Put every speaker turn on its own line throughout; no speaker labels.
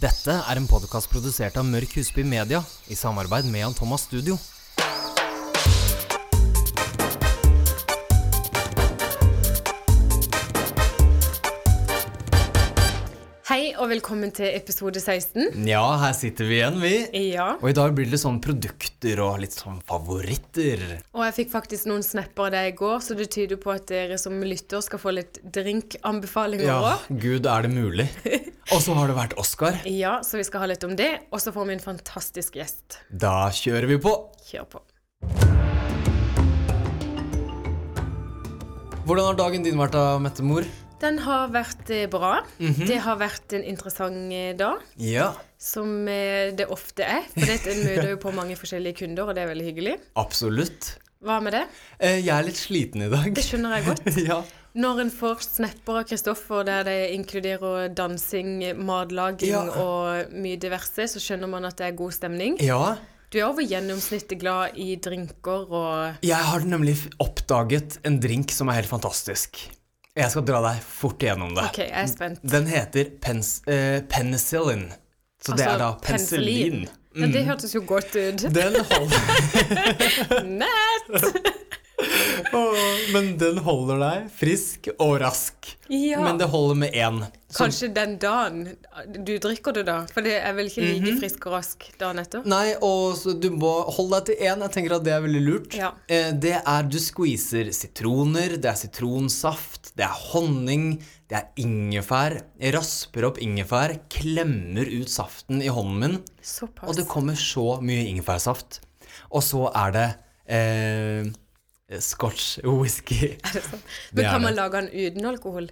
Dette er en podkast produsert av Mørk Husby Media i samarbeid med Jan Thomas Studio.
Hei og velkommen til episode 16.
Ja, her sitter vi igjen, vi.
Ja.
Og i dag blir det litt sånn produkter og litt sånn favoritter.
Og jeg fikk faktisk noen snapper av deg i går, så det tyder på at dere som lytter skal få litt drinkanbefalinger
Ja,
òg.
gud, er det mulig? Og så har det vært Oscar.
Ja. så vi skal ha litt om det. Og så får vi en fantastisk gjest.
Da kjører vi på.
Kjør på.
Hvordan har dagen din vært da, Mette-mor?
Den har vært eh, bra. Det har vært en interessant eh, dag,
Ja,
som eh, det ofte er. For det at en møter jo på mange forskjellige kunder, og det er veldig hyggelig.
absolutt.
Hva med det?
Eh, Jeg er litt sliten i dag.
Det skjønner jeg godt.
Ja.
Når en får snapper av Kristoffer der det inkluderer dansing, matlaging
Ja.
og mye diverse, så skjønner man at det er god stemning.
ja.
Du er over gjennomsnittet glad i drinker og
Jeg har nemlig f- oppdaget en drink som er helt fantastisk. Jeg skal dra deg fort gjennom det.
OK, jeg er spent.
Den heter pens, eh, penicillin. Så det
Altså,
er da penicillin. Mm.
Ja, det hørtes jo godt ut.
Den holder,
Nett!
Åh, men den holder deg frisk og rask.
Ja.
Men det holder med én. Så,
Kanskje den dagen du drikker det, da? For det er vel ikke like frisk og rask dagen etter?
nei, Mhm. og så du må holde deg til én. Jeg tenker at det er veldig lurt.
Ja.
Eh, det er du squeezer sitroner, det er sitronsaft, det er honning, det er ingefær. Jeg rasper opp ingefær, klemmer ut saften i hånden min.
Såpass.
Og det kommer så mye ingefærsaft. Og så er det eh, scotch whisky.
Men
det er
kan man
det.
lage den uten alkohol?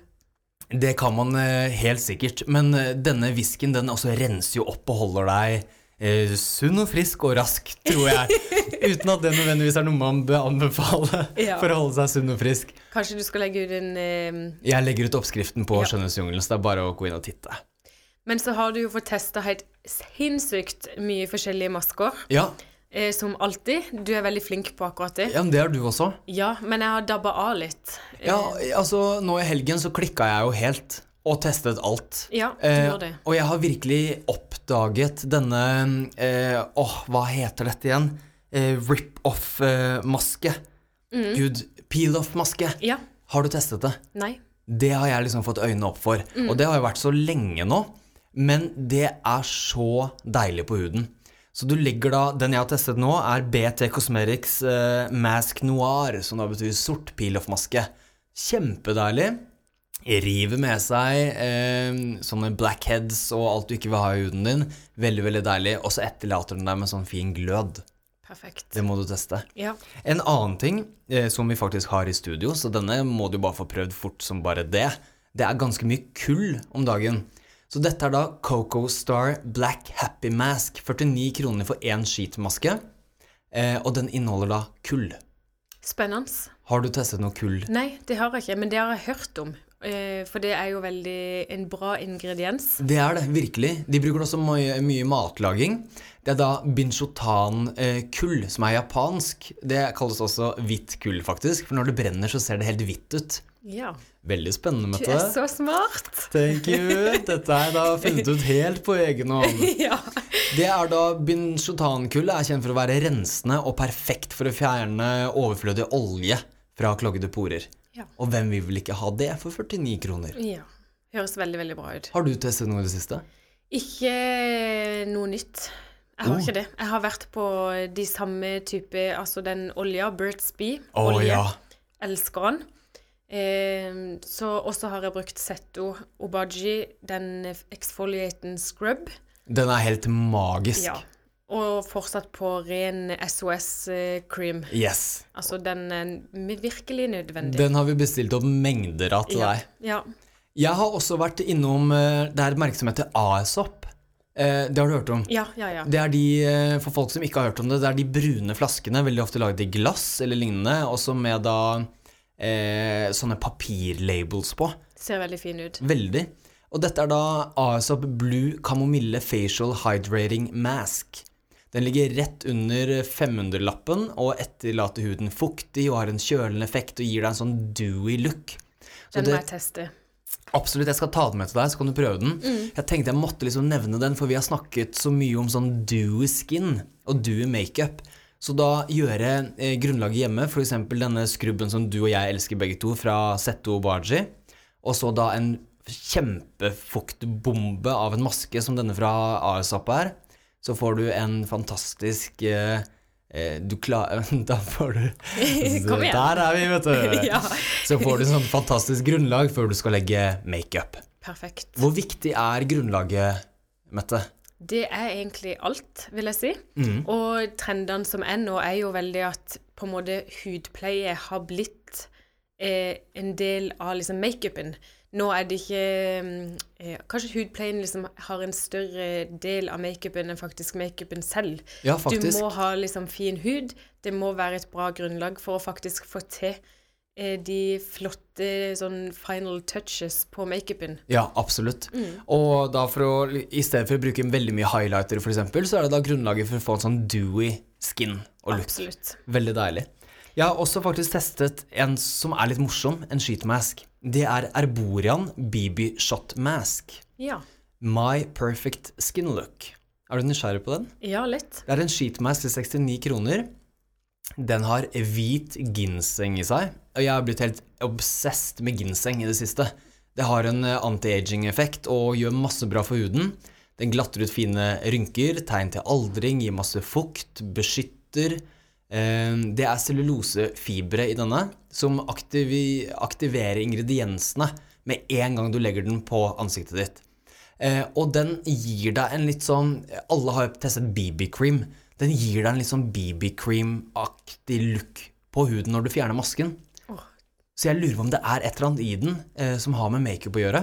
Det kan man eh, helt sikkert. Men eh, denne whiskyen den også renser jo opp og holder deg eh, sunn og frisk og rask, tror jeg. Uten at det nødvendigvis er noe man bør anbefale
Ja.
for å holde seg sunn og frisk.
Kanskje du skal legge ut en eh,
Jeg legger ut oppskriften på
Ja.
Skjønnhetsjungelen, så det er bare å gå inn og titte.
Men så har du jo fått testa helt sinnssykt mye forskjellige masker.
Ja,
Eh, som alltid. Du er veldig flink på akkurat det.
ja men det har du også.
Ja, men jeg har dabba av litt. Eh,
Ja, altså nå i helgen så klikka jeg jo helt og testet alt.
Ja, du
Eh,
gjør det.
og jeg har virkelig oppdaget denne eh, Åh, hva heter dette igjen? Eh, Rip-off-maske. Gud, peel-off-maske.
Mm. Ja.
Har du testet det?
Nei.
Det har jeg liksom fått øynene opp for. Og det har jo vært så lenge nå. Men det er så deilig på huden. Så du legger da, Den jeg har testet nå, er BT Cosmetics eh, Mask Noir, som da betyr sort peel-off-maske. Kjempedeilig. River med seg eh, sånne blackheads og alt du ikke vil ha i huden din. Veldig, veldig deilig. Og så etterlater den deg med sånn fin glød.
Perfekt.
Det må du teste.
Ja.
En annen ting eh, som vi faktisk har i studio, så denne må du bare få prøvd fort som bare det, det er ganske mye kull om dagen. Så dette er da Coco Star Black Happy Mask. 49 kroner for én skitmaske. Eh, og den inneholder da kull.
Spennende.
Har du testet noe kull?
Nei, det har jeg ikke, men det har jeg hørt om. Eh, for det er jo veldig en bra ingrediens.
Det er det, virkelig. De bruker det også mye, mye matlaging. Det er da binchotan-kull, som er japansk. Det kalles også hvitt kull, faktisk. For når det brenner, så ser det helt hvitt ut.
Ja.
Veldig spennende,
Du
Mette.
er så smart!
Thank you. Dette er da funnet ut helt på egen hånd.
ja.
Det er da Binsjotankullet er kjent for å være rensende og perfekt for å fjerne overflødig olje fra kloggede porer.
Ja.
Og hvem vil vel ikke ha det for 49 kroner?
ja. Høres veldig, veldig bra ut.
Har du testet noe i det siste?
Ikke eh, noe nytt. Jeg har
Oh.
ikke det. Jeg har vært på de samme type, altså den olja, Burt's Bee.
Å,
olje.
ja.
Elsker den. Eh, så også har jeg brukt Setto Obaji, den exfoliaten scrub.
Den er helt magisk.
Ja. Og fortsatt på ren SOS-cream.
Yes.
eh, Altså den er virkelig nødvendig.
Den har vi bestilt opp mengder av til
ja.
deg.
Ja.
Jeg har også vært innom eh, Det er et merke som heter ASOP. Eh, Det har du hørt om?
ja, ja, ja.
Det er de, eh, for folk som ikke har hørt om det, det er de brune flaskene, veldig ofte laget i glass eller lignende, også med da eh, sånne papirlabels på.
Ser veldig fin ut.
Veldig. Og dette er da ASOP Blue Camomille Facial Hydrating Mask. Den ligger rett under 500-lappen og etterlater huden fuktig og har en kjølende effekt og gir deg en sånn dewy look. Så
Den må
det,
jeg teste.
Absolutt, jeg skal ta den med til deg, så kan du prøve den.
Mm.
Jeg tenkte jeg måtte liksom nevne den, for vi har snakket så mye om sånn dewy skin og dewy makeup. Så da gjøre eh, grunnlaget hjemme, f.eks. denne skrubben som du og jeg elsker begge to, fra Setto og Bargi, og så da en kjempefuktbombe av en maske som denne fra ASAP er, så får du en fantastisk eh, eh, du klar, Da får du
Kom igjen.
Der er vi, vet du!
Ja.
Så får du sånn fantastisk grunnlag før du skal legge makeup.
Perfekt.
Hvor viktig er grunnlaget, Mette?
Det er egentlig alt, vil jeg si.
Mm.
Og trendene som er nå, er jo veldig at på en måte hudpleie har blitt eh, en del av liksom makeupen. Nå er det ikke mm, eh, Kanskje hudpleien liksom har en større del av makeupen enn faktisk makeupen selv.
Ja,
Du
faktisk.
må ha liksom fin hud. Det må være et bra grunnlag for å faktisk få til eh, de flotte sånn final touches på makeupen.
Ja, absolutt. Og da for å, i stedet for å bruke veldig mye highlighter, for eksempel, så er det da grunnlaget for å få en sånn dewy skin og look.
Absolutt.
Veldig deilig. Jeg har også faktisk testet en som er litt morsom, en sheetmask. Det er Erborian BB Shot Mask.
Ja.
My Perfect Skin Look. Er du nysgjerrig på den?
Ja, litt.
Det er en sheetmask til 69 kroner. Den har hvit ginseng i seg, og jeg har blitt helt obsessed med ginseng i det siste. Det har en eh, anti-aging-effekt og gjør masse bra for huden. Den glatter ut fine rynker, tegn til aldring, gir masse fukt, beskytter. Eh, Det er cellulosefibre i denne, som aktivi- aktiverer ingrediensene med en gang du legger den på ansiktet ditt. Eh, og den gir deg en litt sånn Alle har jo testet BB-cream. Den gir deg en litt sånn BB-cream-aktig look på huden når du fjerner masken.
Åh.
Så jeg lurer på om det er et eller annet i den eh, som har med makeup å gjøre.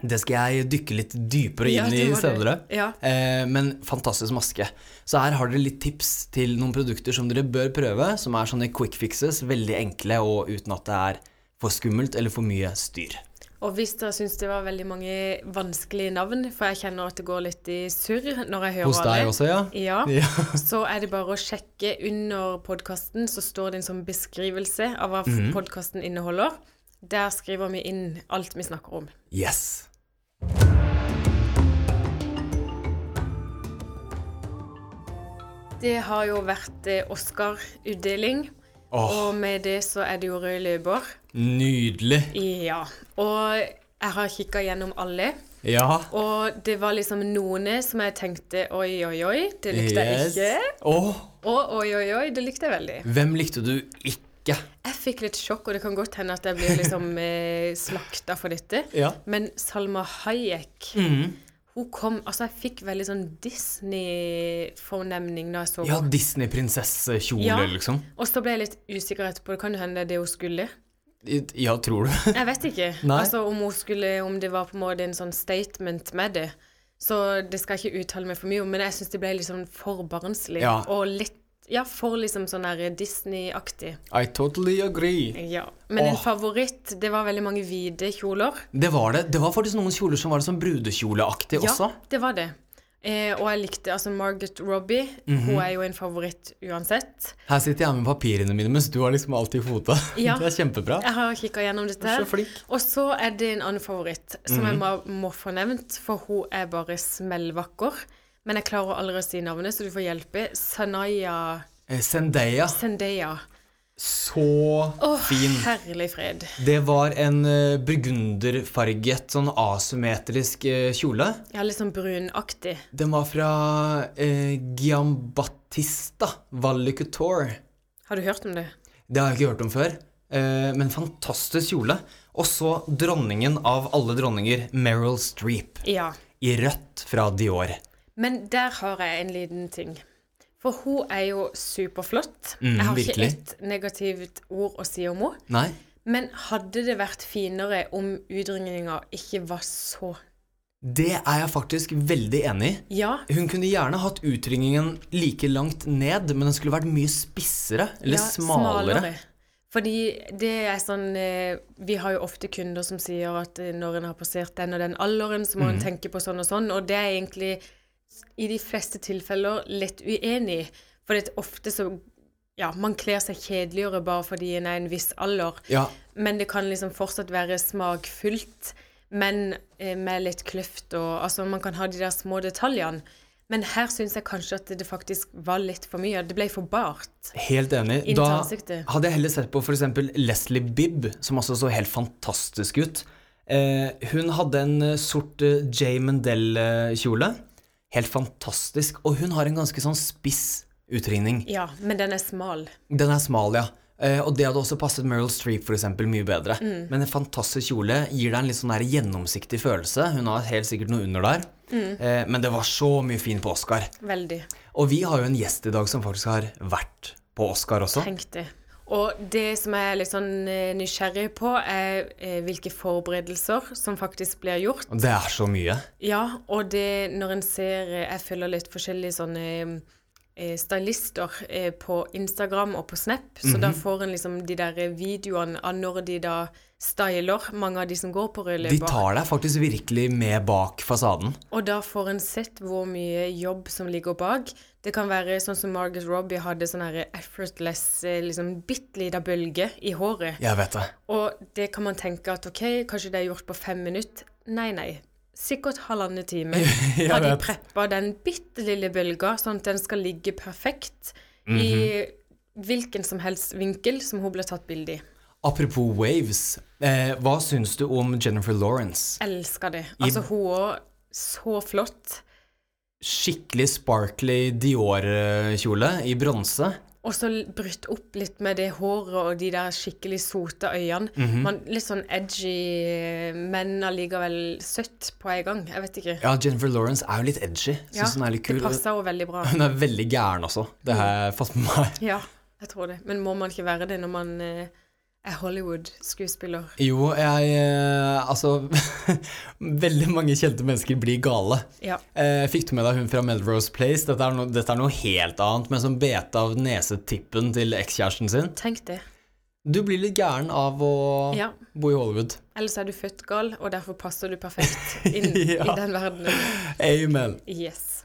Det skal jeg dykke litt dypere
Mm. Ja,
inn
det
i
må du.
senere.
Ja.
Eh, men fantastisk maske. Så her har dere litt tips til noen produkter som dere bør prøve, som er sånne quick fixes, veldig enkle og uten at det er for skummelt eller for mye styr.
Og hvis dere syns det var veldig mange vanskelige navn, for jeg kjenner at det går litt i surr når jeg hører
Hos deg også, ja?
Ja,
Ja.
så er det bare å sjekke under podkasten, så står det en sånn beskrivelse av hva
Mhm.
podkasten inneholder. Der skriver vi inn alt vi snakker om.
Yes.
Det har jo vært eh, Oscar-utdeling,
Åh.
og med det så er det jo rød løper.
Nydelig.
Ja. Og jeg har kikka gjennom alle.
Ja.
Og det var liksom noen som jeg tenkte oi, oi, oi, det likte
Yes.
jeg ikke.
Åh,
Og oi, oi, oi, det likte jeg veldig.
hvem likte du ikke?
Jeg fikk litt sjokk, og det kan godt hende at jeg blir liksom eh, slakta for dette.
Ja.
Men Salma Hayek
Mm.
Hun kom Altså, jeg fikk veldig sånn Disney-fornemning da jeg så
Ja,
henne.
Disney-prinsessekjole,
Ja.
liksom.
Og så ble jeg litt usikker etterpå. Det kan jo hende det er det hun skulle.
I- Ja, tror du?
Jeg vet ikke.
Nei.
Altså om hun skulle Om det var på en måte en sånn statement med det. Så det skal jeg ikke uttale meg for mye om, men jeg syns det ble litt sånn for barnslig.
Ja.
Og litt Ja, for liksom sånn der Disney-aktig.
I totally agree.
Ja. Men en
Åh.
favoritt Det var veldig mange hvite kjoler.
Det var det. Det var faktisk noen kjoler som var sånn brudekjoleaktig også.
Ja, det var det. Eh, og jeg likte altså Margaret Robbie.
Mhm.
Hun er jo en favoritt uansett.
Her sitter jeg med papirene mine, mens du har liksom alltid kvota.
Ja.
Det er kjempebra.
Jeg har kikka gjennom dette. her.
Så flink. Mhm.
Og så er det en annen favoritt som jeg må, må få nevnt, for hun er bare smellvakker. Men jeg klarer aldri å si navnet, så du får hjelpe. Sanaya
Eh, Zendaya,
Zendaya.
så
Å,
fin.
herlig fred.
Det var en eh, burgunderfarget, sånn asymmetrisk eh, kjole.
Ja, litt sånn brunaktig.
Den var fra eh, Giambattista Valle Couture.
Har du hørt om det?
Det har jeg ikke hørt om før. eh, Men fantastisk kjole. Og så dronningen av alle dronninger, Meryl Streep,
Ja.
i rødt fra Dior.
Men der har jeg en liten ting. For hun er jo superflott. jeg har
virkelig.
ikke et negativt ord å si om henne.
Nei?
Men hadde det vært finere om utringninga ikke var så
Det er jeg faktisk veldig enig i.
Ja,
Hun kunne gjerne hatt utringningen like langt ned, men den skulle vært mye spissere, eller
ja,
smalere.
Fordi det er sånn eh, Vi har jo ofte kunder som sier at eh, når en har passert den og den alderen, så må
Mm.
en tenke på sånn og sånn, og det er jeg egentlig i de fleste tilfeller litt uenig i. For det, ofte så ja, man kler seg kjedeligere bare fordi en er en viss alder.
Ja.
Men det kan liksom fortsatt være smakfullt, men eh, med litt kløft og Altså, man kan ha de der små detaljene. Men her syns jeg kanskje at det faktisk var litt for mye. Det ble for bart.
Helt enig.
Inn til
Da
ansiktet.
hadde jeg heller sett på f.eks. Leslie Bibb, som altså så helt fantastisk ut. Eh, hun hadde en eh, sort eh, Jay Mendel-kjole. Helt fantastisk. Og hun har en ganske sånn spiss utringning.
Ja, men den er smal.
Den er smal, ja. Eh, og det hadde også passet Meryl Streep for eksempel, mye bedre. Men en fantastisk kjole gir deg en litt sånn der gjennomsiktig følelse. Hun har helt sikkert noe under der. Eh, men det var så mye fin på Oscar.
Veldig.
Og vi har jo en gjest i dag som faktisk har vært på Oscar også.
Tenk det. Og det som jeg er litt sånn eh, nysgjerrig på, er eh, hvilke forberedelser som faktisk blir gjort.
Og det er så mye.
Ja, og det når en ser eh, Jeg følger litt forskjellige sånne eh, stylister eh, på Instagram og på Snap, så
Mhm.
da får en liksom de der videoene av når de da styler, mange av de som går på rød
De
løper.
tar deg faktisk virkelig med bak fasaden.
Og da får en sett hvor mye jobb som ligger bak. Det kan være sånn som Margot Robbie hadde sånn her effortless, eh, liksom bitte lita bølge i håret.
Jeg vet det.
Og det kan man tenke at ok, kanskje det er gjort på fem minutter. Nei, nei. Sikkert halvannen time
Jeg
har de
vet.
preppa den bitte lille bølga, sånn at den skal ligge perfekt
Mhm.
i hvilken som helst vinkel som hun blir tatt bilde i.
Apropos waves, eh, hva syns du om Jennifer Lawrence?
Elsker det. Altså, hun òg så flott.
Skikkelig sparkly Dior-kjole i bronse.
Og så l- brytt opp litt med det håret og de der skikkelig sota øynene.
Mhm.
Man, litt sånn edgy, eh, men allikevel søtt på en gang. Jeg vet ikke.
Ja, Jennifer Lawrence er jo litt edgy. Syns hun er litt kul.
det passer henne veldig bra.
Hun er veldig gæren også. Det har jeg fått med meg.
Ja, jeg tror det. Men må man ikke være det når man eh, er Hollywood-skuespiller?
Jo, jeg eh, Altså, veldig mange kjente mennesker blir gale.
Ja.
Eh, fikk du med deg hun fra Melrose Place? Dette er, no, dette er noe helt annet, men som bet av nesetippen til ekskjæresten sin.
Tenk det.
Du blir litt gæren av å
Ja.
bo i Hollywood.
Ellers er du født gal, og derfor passer du perfekt inn
Ja.
i den verdenen.
Amen.
Yes.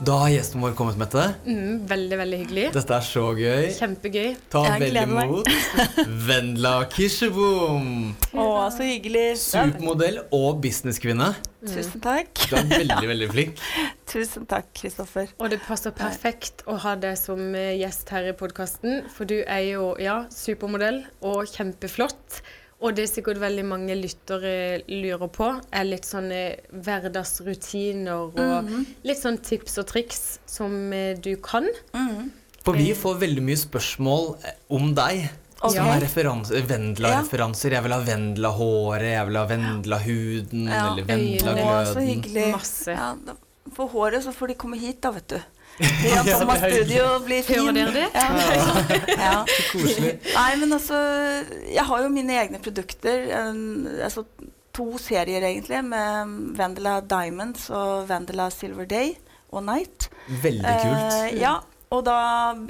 Da har gjesten vår kommet, Mette.
Mm, veldig, veldig hyggelig.
Dette er så gøy.
Kjempegøy.
Ta
Jeg
vel
gleder meg.
imot Vendla Kirsebom.
Å, så hyggelig.
Supermodell og businesskvinne.
Tusen takk.
Du er veldig, veldig flink.
Tusen takk, Kristoffer.
Og det passer perfekt å ha deg som eh, gjest her i podkasten, for du er jo ja, supermodell og kjempeflott. Og det er sikkert veldig mange lyttere lurer på, er litt sånne hverdagsrutiner og
Mhm.
litt sånn tips og triks som eh, du kan. Mm.
For vi får veldig mye spørsmål eh, om deg.
Mm. Ok.
Som er referanse- Vendla-referanser. Jeg vil ha Vendla-håret, jeg vil ha Vendla-huden,
Ja.
eller
Å, så
Vendla-gløden.
hyggelig.
Masse.
Ja, da- for håret så får de komme hit, da, vet du. Jan Thomas
det er hyggelig.
Studio blir fin.
Hører dere det?
Ja. ja.
Koselig.
Nei, men altså Jeg har jo mine egne produkter. en- altså to serier, egentlig, med Vendela Diamonds og Vendela Silver Day og Night.
Veldig kult.
Eh, ja, og da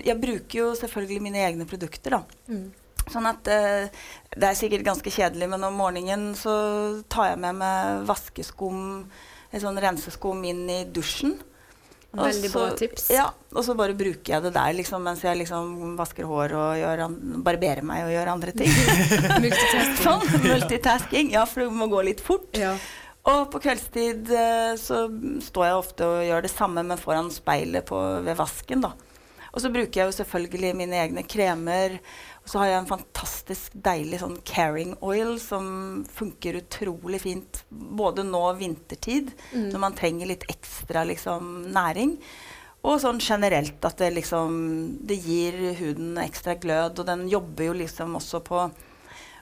Jeg bruker jo selvfølgelig mine egne produkter, da. Sånn at eh, Det er sikkert ganske kjedelig, men om morgenen så tar jeg med meg vaskeskum, en sånn renseskum inn i dusjen. Og
Veldig bra tips.
Ja, og så bare bruker jeg det der liksom, mens jeg liksom vasker hår og gjør an barberer meg og gjør andre ting.
Multitasking.
sånn, multitasking. Ja, for det må gå litt fort.
Ja.
Og på kveldstid eh, så står jeg ofte og gjør det samme, men foran speilet på, ved vasken, da. Og så bruker jeg jo selvfølgelig mine egne kremer. Og så har jeg en fantastisk deilig sånn caring oil som funker utrolig fint både nå og vintertid,
Mm.
Mm.
når man trenger litt ekstra liksom, næring. Og sånn generelt at det liksom Det gir huden ekstra glød, og den jobber jo liksom også på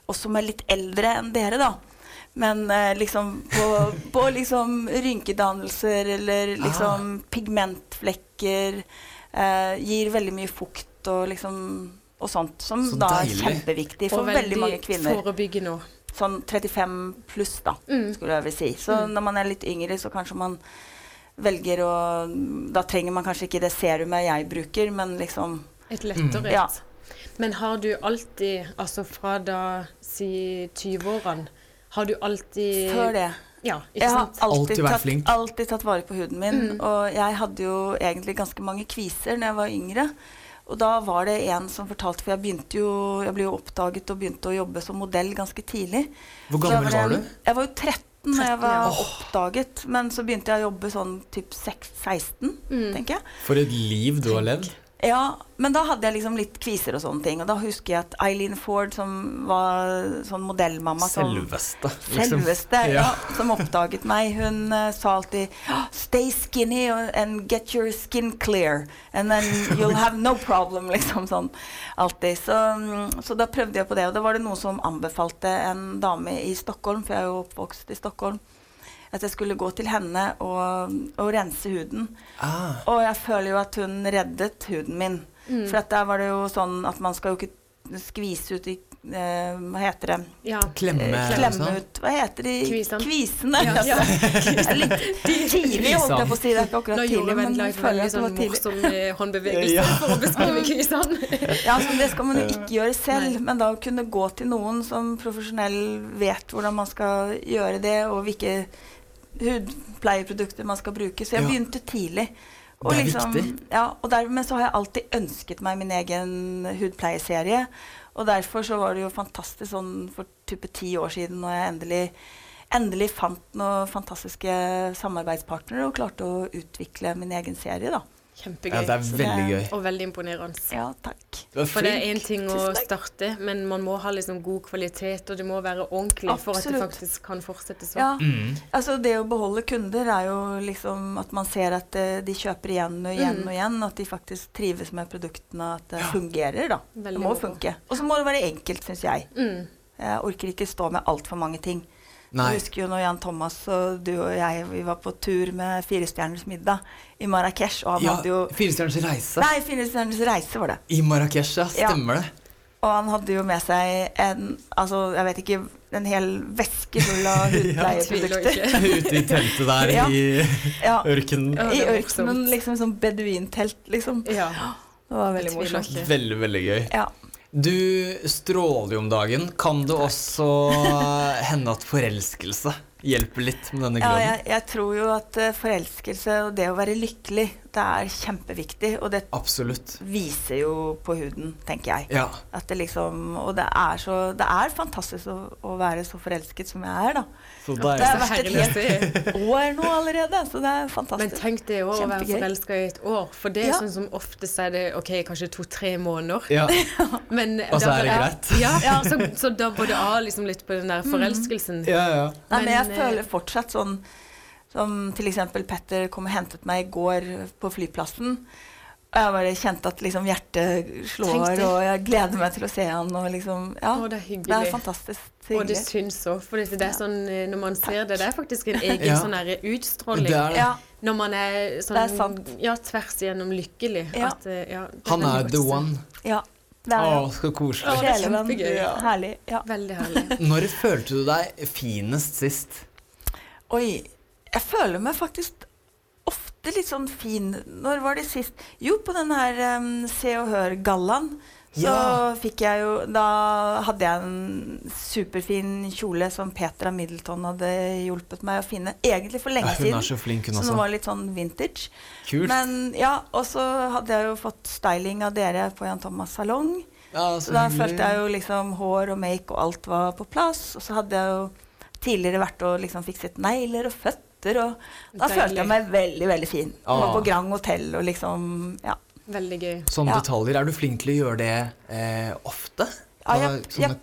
oss som er litt eldre enn dere, da. Men eh, liksom på, på liksom rynkedannelser eller liksom
Ah.
pigmentflekker eh, Gir veldig mye fukt og liksom og sånt, som
Så
da er
deilig.
kjempeviktig for
Og
veldig, mange kvinner.
forebygge nå.
Sånn 35 pluss, da,
Mm.
skulle jeg vel si. Så når man er litt yngre, så kanskje man velger å Da trenger man kanskje ikke det serumet jeg bruker, men liksom
Et lettere et.
Ja.
Men har du alltid, altså fra da si 20-årene, har du alltid
Før det.
Ja, ikke
Jeg har
sant? Mm.
Alltid
alltid
vært
tatt,
flink.
alltid tatt vare på huden min. Og jeg hadde jo egentlig ganske mange kviser når jeg var yngre. Og da var det en som fortalte, for jeg, begynte jo, jeg ble jo oppdaget og begynte å jobbe som modell ganske tidlig.
Hvor
Så da
gammel
det
var
en-
du?
Jeg var jo 13 da
13,
jeg var
ja.
oppdaget. Men så begynte jeg å jobbe sånn typ seks- 16,
Mm.
tenker jeg.
For et liv du har levd.
Ja, men da hadde jeg liksom litt kviser og sånne ting. Og da husker jeg at Eileen Ford, som var sånn modellmamma som
Selveste. liksom.
Selveste, ja. Som oppdaget meg. Hun eh, sa alltid «Ah, 'Stay skinny and get your skin clear'. And then you'll have no problem, liksom sånn. Alltid. Så, mm, så da prøvde jeg på det. Og da var det noen som anbefalte en dame i Stockholm, for jeg er jo oppvokst i Stockholm, at jeg skulle gå til henne og, og rense huden.
Ah,
Og jeg føler jo at hun reddet huden min.
Mm.
For at der var det jo sånn at man skal jo ikke skvise ut i eh, Hva heter det?
Ja.
klemme.
Eh,
sånn.
Klemme ut Hva heter de?
Kvisene.
Kvisene.
Ja.
altså. Det er litt tidlig, holdt jeg på å si. Det er ikke
Nå
akkurat
gjorde
tidlig, men
Wendelage
jeg føler
veldig
at
sånn
det var tidlig.
morsom eh, håndbevegelse
Ja.
for å beskrive
Mm.
kvisene.
Ja, så Det skal man jo ikke gjøre selv,
Nei.
men da å kunne gå til noen som profesjonell vet hvordan man skal gjøre det, og hvilke hudpleieprodukter man skal bruke. Så jeg
Ja.
begynte tidlig. liksom-
Det er viktig.
Ja, og dermed så har jeg alltid ønsket meg min egen hudpleieserie. Og derfor så var det jo fantastisk sånn for type ti år siden når jeg endelig, endelig fant noen fantastiske samarbeidspartnere og klarte å utvikle min egen serie, da.
Ja,
Kjempegøy.
det er
Så det-
veldig gøy.
Og veldig imponerende.
Ja, takk.
Du er
For det er
flink.
én ting å
Tusen takk.
starte, men man må ha liksom god kvalitet, og det må være ordentlig for at det
Absolutt.
faktisk kan fortsette sånn.
Ja,
Mm.
altså Det å beholde kunder er jo liksom at man ser at eh, de kjøper igjen og igjen
Mm.
og igjen. At de faktisk trives med produktene, at det fungerer. da.
Veldig
det må
moro.
funke. Og så må det være enkelt, syns jeg.
Mm.
Jeg orker ikke stå med altfor mange ting.
Nei.
Jeg husker jo når Jan Thomas og du og jeg vi var på tur med Firestjerners middag i Marrakech. Og han
Ja,
hadde jo
Firestjerners reise
Nei, Firestjerners reise var det.
i Marrakech, ja.
Ja.
Stemmer det.
Og han hadde jo med seg en altså, jeg vet ikke, en hel veske full av
Tviler
hudpleieprodukter.
ikke.
Ute i teltet der
Ja.
i
ja.
ørkenen.
Ja,
I
det er
ørkenen,
morsomt.
liksom som beduintelt, liksom.
Ja.
Det var
Jeg
veldig
tviler
morsomt.
ikke.
Veldig, veldig gøy.
Ja.
Du stråler jo om dagen. Kan det også hende at forelskelse hjelper litt med denne
Ja,
gløden?
jeg, jeg tror jo at eh, forelskelse og det å være lykkelig, det er kjempeviktig. Og det
Absolutt.
viser jo på huden, tenker jeg.
Ja.
At det liksom, og det er, så, det er fantastisk å, å være så forelsket som jeg er, da.
Så
Det har
deilig.
vært et
herlig å se.
helt år nå allerede, så det er
Men
fantastisk.
tenk det også, å være
Kjempegøy.
forelska i et år. For det er
Ja.
sånn som ofte så er det ok, kanskje to-tre måneder.
Ja.
Men
Og så
da-
er det greit.
Ja, så, så da både av liksom litt på den
Mhm.
der forelskelsen.
Ja, ja.
Nei, men jeg
Men, eh,
føler fortsatt sånn Som til eksempel Petter kom og hentet meg i går på flyplassen. Og jeg bare kjente at liksom hjertet
Tenk
slår,
det.
og jeg gleder meg til å se han. Og liksom, ja,
Å, det er hyggelig.
Det er fantastisk
Og det
hyggelig.
syns òg. For det er sånn, eh, når man ser det, det er faktisk en egen
Ja.
sånn der utstråling.
Det er det.
Ja,
Når man er sånn
Det er sant.
Ja, tvers igjennom lykkelig.
Ja.
At, eh, ja, det
Han
veldig
er
godt
the
å se.
one.
ja. Det
Å,
er
så koselig.
Å, det er
sjelevenn.
kjempegøy, ja.
Herlig. Ja.
Veldig herlig.
Når følte du deg finest sist?
Oi. Jeg føler meg faktisk ofte litt sånn fin. Når var det sist? Jo, på den her em, Se og Hør-gallaen. Så
Ja.
fikk jeg jo Da hadde jeg en superfin kjole som Petra Middleton hadde hjulpet meg å finne. Egentlig for
Ja,
lenge
hun
siden.
er så flink, hun
Så
også.
den var litt sånn vintage.
Kult.
Men ja, Og så hadde jeg jo fått styling av dere på Jan Thomas salong.
ja,
Så da følte jeg jo liksom hår og make og alt var på plass. Og så hadde jeg jo tidligere vært og liksom fikset negler og føtter og Da
Deilig.
følte jeg meg veldig, veldig fin.
Ah.
Var på Grand Hotel og liksom Ja.
Veldig gøy.
Sånne
Ja.
detaljer. Er du flink til å gjøre det eh, ofte?
ja
Da,
jeg,
sånne
jeg
koseting?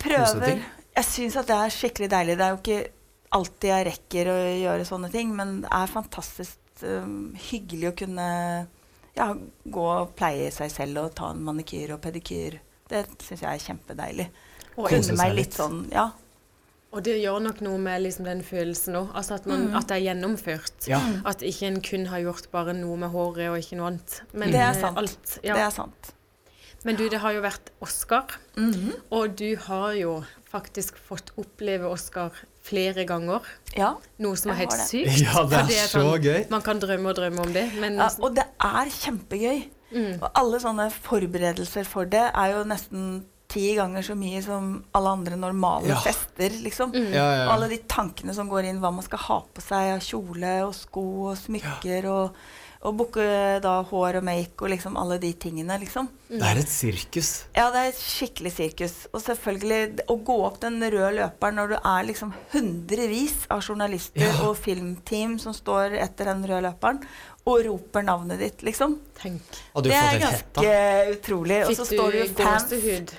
prøver. Jeg syns at det er skikkelig deilig. Det er jo ikke alltid jeg rekker å gjøre sånne ting, men det er fantastisk um, hyggelig å kunne ja, gå og pleie seg selv og ta en manikyr og pedikyr. Det syns jeg er kjempedeilig.
Og,
Kose
Kunne
seg
meg
litt.
litt sånn, ja.
og det gjør nok noe med liksom den følelsen òg. Altså at,
Mhm.
man, at det er gjennomført.
Ja.
Mm.
At ikke en kun har gjort bare noe med håret og ikke noe annet. Men
Det er
eh,
sant.
alt. Ja.
Det er sant. Mhm.
Men du, det har jo vært Oscar, og du har jo faktisk fått oppleve Oscar flere ganger.
Ja.
Noe som er
Jeg
helt
har det.
sykt.
Ja, det er
for
så gøy.
Man kan drømme og drømme om det, men
ja. Og det er kjempegøy. Og alle sånne forberedelser for det er jo nesten ti ganger så mye som alle andre normale
Ja.
fester, liksom.
Ja, ja, ja.
Alle de tankene som går inn, hva man skal ha på seg av kjole og sko og smykker, og, og booke da hår og make og liksom alle de tingene, liksom.
Det er et sirkus.
Ja, det er et skikkelig sirkus. Og selvfølgelig, d- å gå opp den røde løperen når du er liksom hundrevis av journalister
Ja.
og filmteam som står etter den røde løperen, og roper navnet ditt, liksom.
Tenk.
Hadde
Det
du
er
fått helt hetta?
ganske utrolig. Og så
Fikk
står det
du
jo fans.
gåsehud?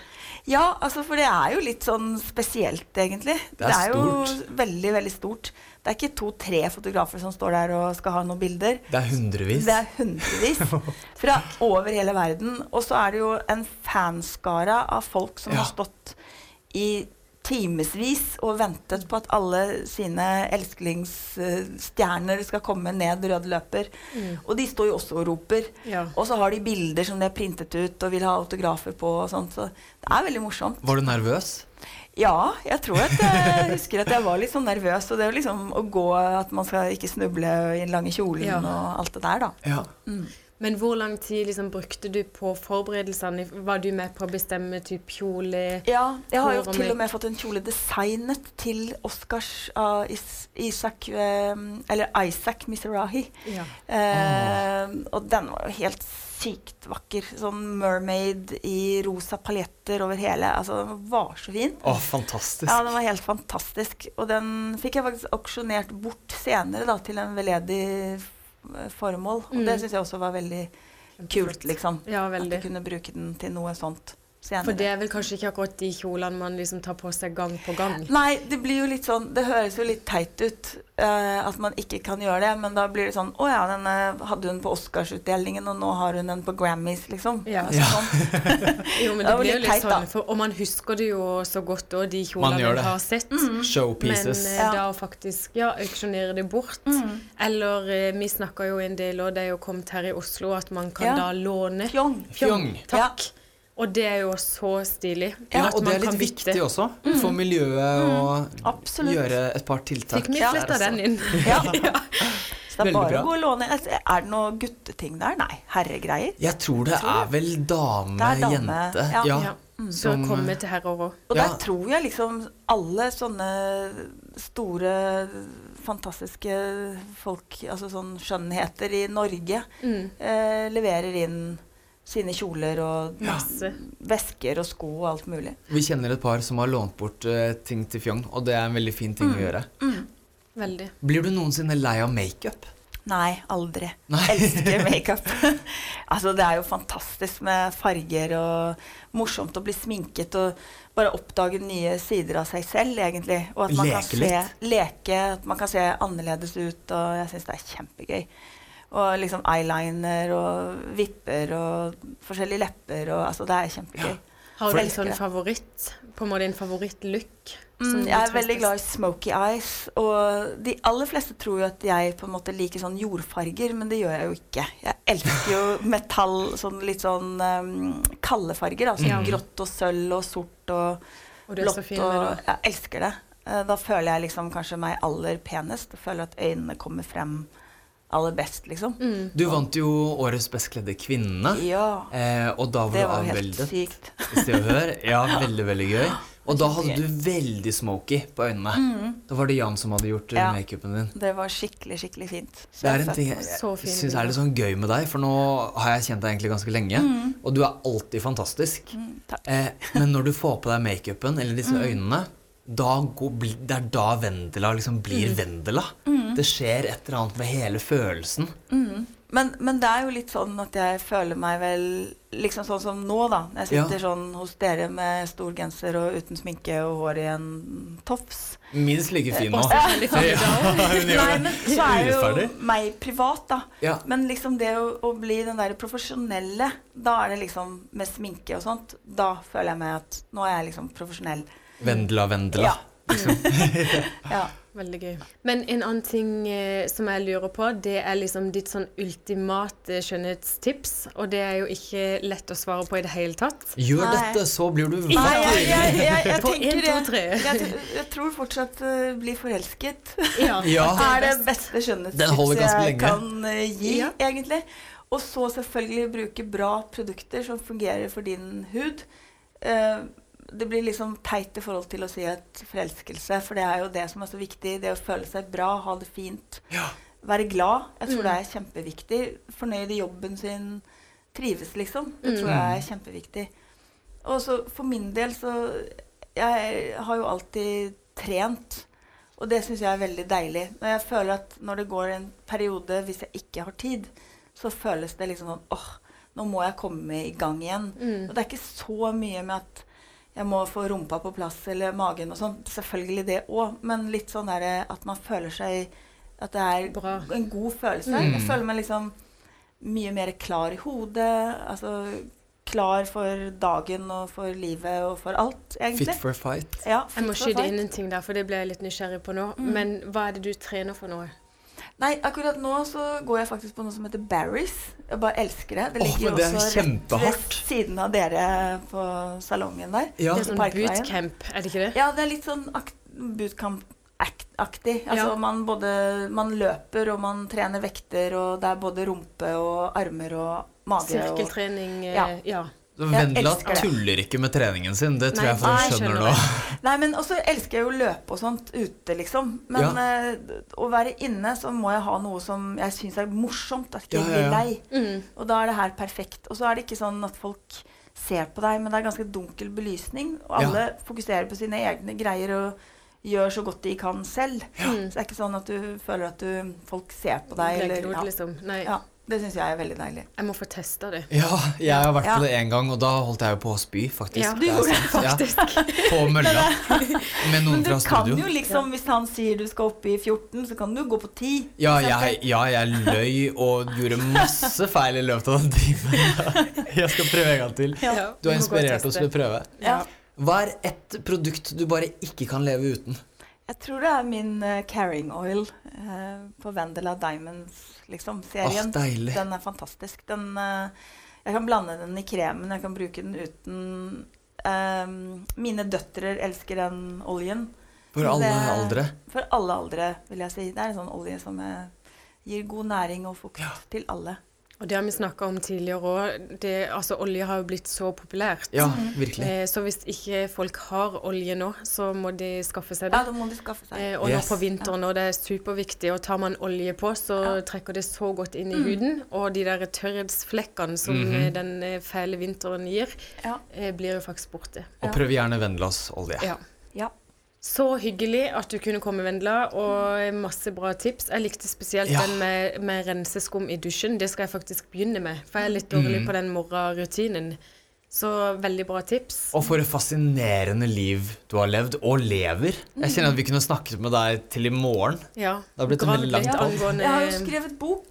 Ja, altså, for det er jo litt sånn spesielt, egentlig.
Det er stort.
jo veldig, veldig stort. Det er ikke to-tre fotografer som står der og skal ha noen bilder.
Det er hundrevis.
Det er hundrevis fra over hele verden. Og så er det jo en fanskare av folk som
Ja.
har stått i timevis og ventet på at alle sine elsklingsstjerner skal komme ned rød løper. Og de står jo også og roper.
Ja.
Og så har de bilder som de har printet ut og vil ha autografer på og sånt. Så det er veldig morsomt.
Var du nervøs?
Ja, jeg tror at jeg husker at jeg var litt sånn nervøs. Og det er jo liksom å gå at man skal ikke snuble i den lange kjolen
Ja.
og alt det der, da.
Ja.
Men hvor lang tid liksom brukte du på forberedelsene? Var du med på å bestemme type kjole?
Ja, jeg har jo
Hår og
til
make-
og med fått en kjole designet til Oscars av Is Isak eh, Eller Isaac Mizrahi.
Ja.
Eh, og den var jo helt sykt vakker. Sånn mermaid i rosa paljetter over hele. Altså, den var så fin.
Å, fantastisk.
Ja, den var helt fantastisk. Og den fikk jeg faktisk auksjonert bort senere da, til en veldedig eh, formål. Og det syns jeg også var veldig kult, liksom.
Ja,
At
Mm. veldig.
jeg kunne bruke den til noe sånt senere.
For det er vel kanskje ikke akkurat de kjolene man liksom tar på seg gang på gang.
Nei, det blir jo litt sånn Det høres jo litt teit ut eh, at man ikke kan gjøre det, men da blir det sånn Å ja, den eh, hadde hun på Oscarsutdelingen, og nå har hun den på Grammys, liksom.
Ja.
Altså, Sånn.
Jo, men
Det
det
var
blir jo litt
litt teit, da.
sånn, for, og man husker det jo så godt òg, de
Man
kjolene
gjør
man
det.
har sett. Men
Mm. Showpieces.
eh,
Mm. Ja. Mm.
da å faktisk ja, auksjonere det bort. Eller eh, vi snakker jo en del, og det er jo kommet her i Oslo, at man kan
Ja.
da låne.
Fjong.
Fjong.
Takk. Og det er jo så stilig.
Ja,
at
og det
man
er litt
kan bytte.
viktig også for miljøet å
Mm. Absolutt.
gjøre et par tiltak.
Fikk vi
Ja.
flytta den inn?
Ja. Så det
Veldig
er bare
bra.
å gå og låne. Altså, Er det noe gutteting der? Nei. Herregreier.
Jeg tror det er vel dame,
Det er dame,
jente
ja.
Ja.
Ja.
Mm.
Så
Som, eh,
komme til herrer òg.
Og
Ja.
der tror jeg liksom alle sånne store, fantastiske folk, altså sånn skjønnheter i Norge,
Mm,
eh, leverer inn sine kjoler og
Masse.
vesker og sko og alt mulig.
eh, Vi kjenner et par som har lånt bort eh, ting til Fjong, og det er en veldig fin ting å
Mm.
gjøre.
Veldig.
Blir du noensinne lei av makeup?
Nei, aldri.
Nei.
Elsker makeup. altså, det er jo fantastisk med farger og morsomt å bli sminket og bare oppdage nye sider av seg selv, egentlig. Og at man kan
Leke
se,
litt.
leke, at man kan se annerledes ut, og jeg syns det er kjempegøy. Og liksom eyeliner og vipper og forskjellige lepper og Altså, det er kjempegøy.
Har du en
Elsker
sånn
det.
favoritt? På en måte en favorittlook? som
Mm,
du
jeg er
tror
veldig
spes-
glad i smoky eyes, og de aller fleste tror jo at jeg på en måte liker sånn jordfarger, men det gjør jeg jo ikke. Jeg elsker jo metall, sånn litt sånn um, kalde farger, altså
Ja.
grått og sølv og sort og
Mm. Og du er så
blått
fin med
og
det.
Jeg elsker det. Eh, Da føler jeg liksom kanskje meg aller penest. Jeg føler at øynene kommer frem aller best, liksom.
Mm.
Du vant jo Årets best kledde kvinne,
Ja.
eh, og da var
Det
du
var jo helt
avbildet.
sykt.
i Se og Hør. Ja, veldig, veldig gøy. Og da hadde du veldig smoky på øynene. Da var det Jan som hadde gjort eh,
Mm. Ja.
makeupen din.
Det var skikkelig, skikkelig fint.
Det er en ting jeg,
Så
jeg
fin
syns
bilde.
er litt sånn gøy med deg, for nå har jeg kjent deg egentlig ganske lenge,
Mm.
og du er alltid fantastisk.
takk.
Eh, men når du får på deg makeupen eller disse
Mm.
øynene, da går, bli- det er da Vendela liksom blir
Mm.
Vendela. Det skjer et eller annet med hele følelsen.
Men, men det er jo litt sånn at jeg føler meg vel liksom sånn som nå, da. Jeg
Ja.
sitter sånn hos dere med stor genser og uten sminke og hår i en tofs.
Minst like fin nå.
Også veldig fin i dag.
Nei, men så er jo
Urettferdig.
meg privat, da.
Ja.
Men liksom det å, å bli den der profesjonelle, da er det liksom med sminke og sånt, da føler jeg meg at nå er jeg liksom profesjonell.
Vendela, Vendela.
Ja. Ja.
Veldig gøy. Men en annen ting eh, som jeg lurer på, det er liksom ditt sånn ultimate skjønnhetstips. Og det er jo ikke lett å svare på i det hele tatt.
Gjør
Nei.
dette, så blir du
Nei, jeg,
vakker.
jeg, jeg, jeg
På
tenker
en, to,
det.
tre.
Jeg, jeg tror fortsatt eh, bli forelsket.
Ja.
Ja.
er det beste
Den holder
skjønnhetstipset
ganske
jeg
lenge.
kan eh, gi,
Ja.
egentlig. Og så selvfølgelig bruke bra produkter som fungerer for din hud. Eh, det blir liksom teit i forhold til å si et forelskelse, for det er jo det som er så viktig. Det å føle seg bra, ha det fint,
Ja.
være glad. Jeg tror det er kjempeviktig. Fornøyd i jobben sin, trives, liksom. Det tror jeg er kjempeviktig. Og så for min del så Jeg har jo alltid trent. Og det syns jeg er veldig deilig. Når jeg føler at når det går en periode hvis jeg ikke har tid, så føles det liksom sånn åh, nå må jeg komme i gang igjen.
Mm.
Og det er ikke så mye med at jeg må få rumpa på plass eller magen og sånn. Selvfølgelig det òg, men litt sånn derre at man føler seg At det er
Bra.
en god følelse.
Mm.
Jeg føler meg liksom mye mer klar i hodet. Altså klar for dagen og for livet og for alt, egentlig.
Fit for a fight.
ja,
Jeg må
fit for
skyte
fight.
inn en ting der, for det ble jeg litt nysgjerrig på nå. Men hva er det du trener for nå?
Nei, akkurat nå så går jeg faktisk på noe som heter Barry's. Jeg bare elsker det. Det
Åh,
ligger
men det er
også rett ved
kjempehardt.
siden av dere på salongen der.
Ja.
Det er sånn
Parkveien.
bootcamp, er det ikke det?
Ja, det er litt sånn akt- bootcamp-aktig. Altså
Ja.
man både man løper og man trener vekter, og det er både rumpe og armer og mage. Og,
Sirkeltrening eh,
Ja.
Ja.
Så
Jeg
Vendela
elsker det.
tuller ikke med treningen sin, det tror
Nei,
jeg folk
nei, jeg
skjønner
skjønner
nå.
nei, men også elsker jeg jo å løpe og sånt ute, liksom. Men
Ja.
eh, å være inne, så må jeg ha noe som jeg syns er morsomt. At
Ja,
jeg ikke
ja, ja.
blir lei.
Mm.
Og da er det her perfekt. Og så er det ikke sånn at folk ser på deg, men det er ganske dunkel belysning. Og alle fokuserer på sine egne greier og gjør så godt de kan selv. Så det er ikke sånn at du føler at du, folk ser på deg. Eller,
Leglod,
ja.
liksom. Nei,
ja, det syns jeg er veldig deilig.
jeg må få testa det.
Ja, jeg har vært
Ja.
på det én gang, og da holdt jeg jo på å spy, faktisk.
Ja.
Det
Du
er
gjorde
sant.
Faktisk.
Ja, på mølla. Med
Men
noen
du
fra
kan
studio.
jo liksom, hvis han sier du skal opp i 14, så kan du gå på 10.
Ja
for
jeg,
eksempel.
ja, jeg løy og gjorde masse feil i løpet av den timen. Jeg skal prøve en gang til.
Ja,
Du har
vi må gå og
inspirert oss til
teste.
å prøve.
Ja.
Hva er ett produkt du bare ikke kan leve uten?
Jeg tror det er min eh, carrying oil eh, på Vendela Diamonds, liksom,
Åh,
serien.
deilig.
Den er fantastisk. Den, eh, jeg kan blande den i kremen, jeg kan bruke den uten Ehm, Mine døtre elsker den oljen.
For alle
det-
aldre.
For alle aldre, vil jeg si. Det er en sånn olje som eh, gir god næring og fukt
Ja.
til alle.
Og det har vi snakka om tidligere òg. Altså, olje har jo blitt så populært.
Ja, virkelig.
Eh, så hvis ikke folk har olje nå, så må de skaffe seg
Ja,
det.
da må de skaffe seg.
Eh, og nå
Yes.
på vinteren, når det er superviktig, og tar man olje på, så trekker det så godt inn i huden. Og de der tørrhetsflekkene som
Mhm.
eh, den eh, fæle vinteren gir,
Ja.
eh, blir jo faktisk borte.
Og prøv gjerne Vendelas olje.
Ja.
ja.
Så hyggelig at du kunne komme, Vendela, og masse bra tips. Jeg likte spesielt
Ja.
den med, med renseskum i dusjen. Det skal jeg faktisk begynne med, for jeg er
Mm.
litt dårlig på den morgenrutinen. Så veldig bra tips.
Og for et fascinerende liv du har levd, og lever. Jeg kjenner at vi kunne snakket med deg til i morgen.
Ja.
Det har blitt en veldig
Gravd
lang
litt
tall.
angående
Jeg har jo skrevet bok.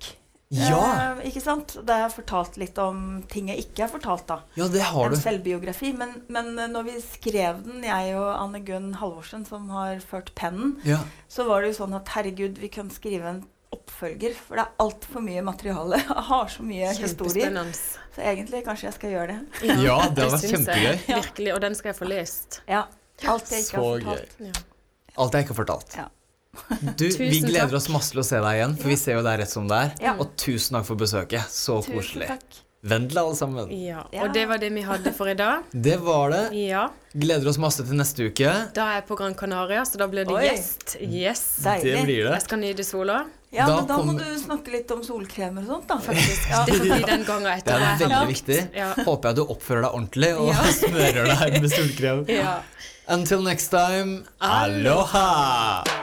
Ja,
Eh, ikke sant? Der jeg har fortalt litt om ting jeg ikke har fortalt, da.
ja det har
en
du.
selvbiografi. Men, men eh, når vi skrev den, jeg og Anne Gunn Halvorsen, som har ført pennen,
Ja.
så var det jo sånn at herregud, vi kan skrive en oppfølger. For det er altfor mye materiale. Jeg har så mye historier.
Kjempespennende.
Så egentlig kanskje jeg skal gjøre det.
ja, det har vært
syns
kjempegøy.
jeg. Virkelig. Og den skal jeg få lest.
Ja. Alt jeg ikke
Så
har
gøy.
fortalt.
Ja.
Alt jeg ikke har fortalt.
Ja.
Du, vi
Tusen
gleder
takk.
oss masse til å se deg igjen, for vi ser jo deg rett som det er.
Ja.
Og tusen takk for besøket. Så
Tusen
koselig.
takk.
Vendela, alle sammen.
ja.
Ja.
Og det var det vi hadde for i dag.
Det var det.
Ja.
Gleder oss masse til neste uke.
Da er jeg på Gran Canaria, så da blir det
Oi.
gjest. Yes.
Det
Deilig.
blir det.
Jeg skal nyte sola.
Ja,
Da
men da må
kommer-
du snakke litt om solkremer og sånt, da. Faktisk. Ja.
Det får bli den gangen etter.
Det er
jeg har
veldig
brukt.
viktig.
Ja.
Håper jeg du oppfører deg ordentlig og smører deg med solkrem.
Ja.
Until next time, aloha!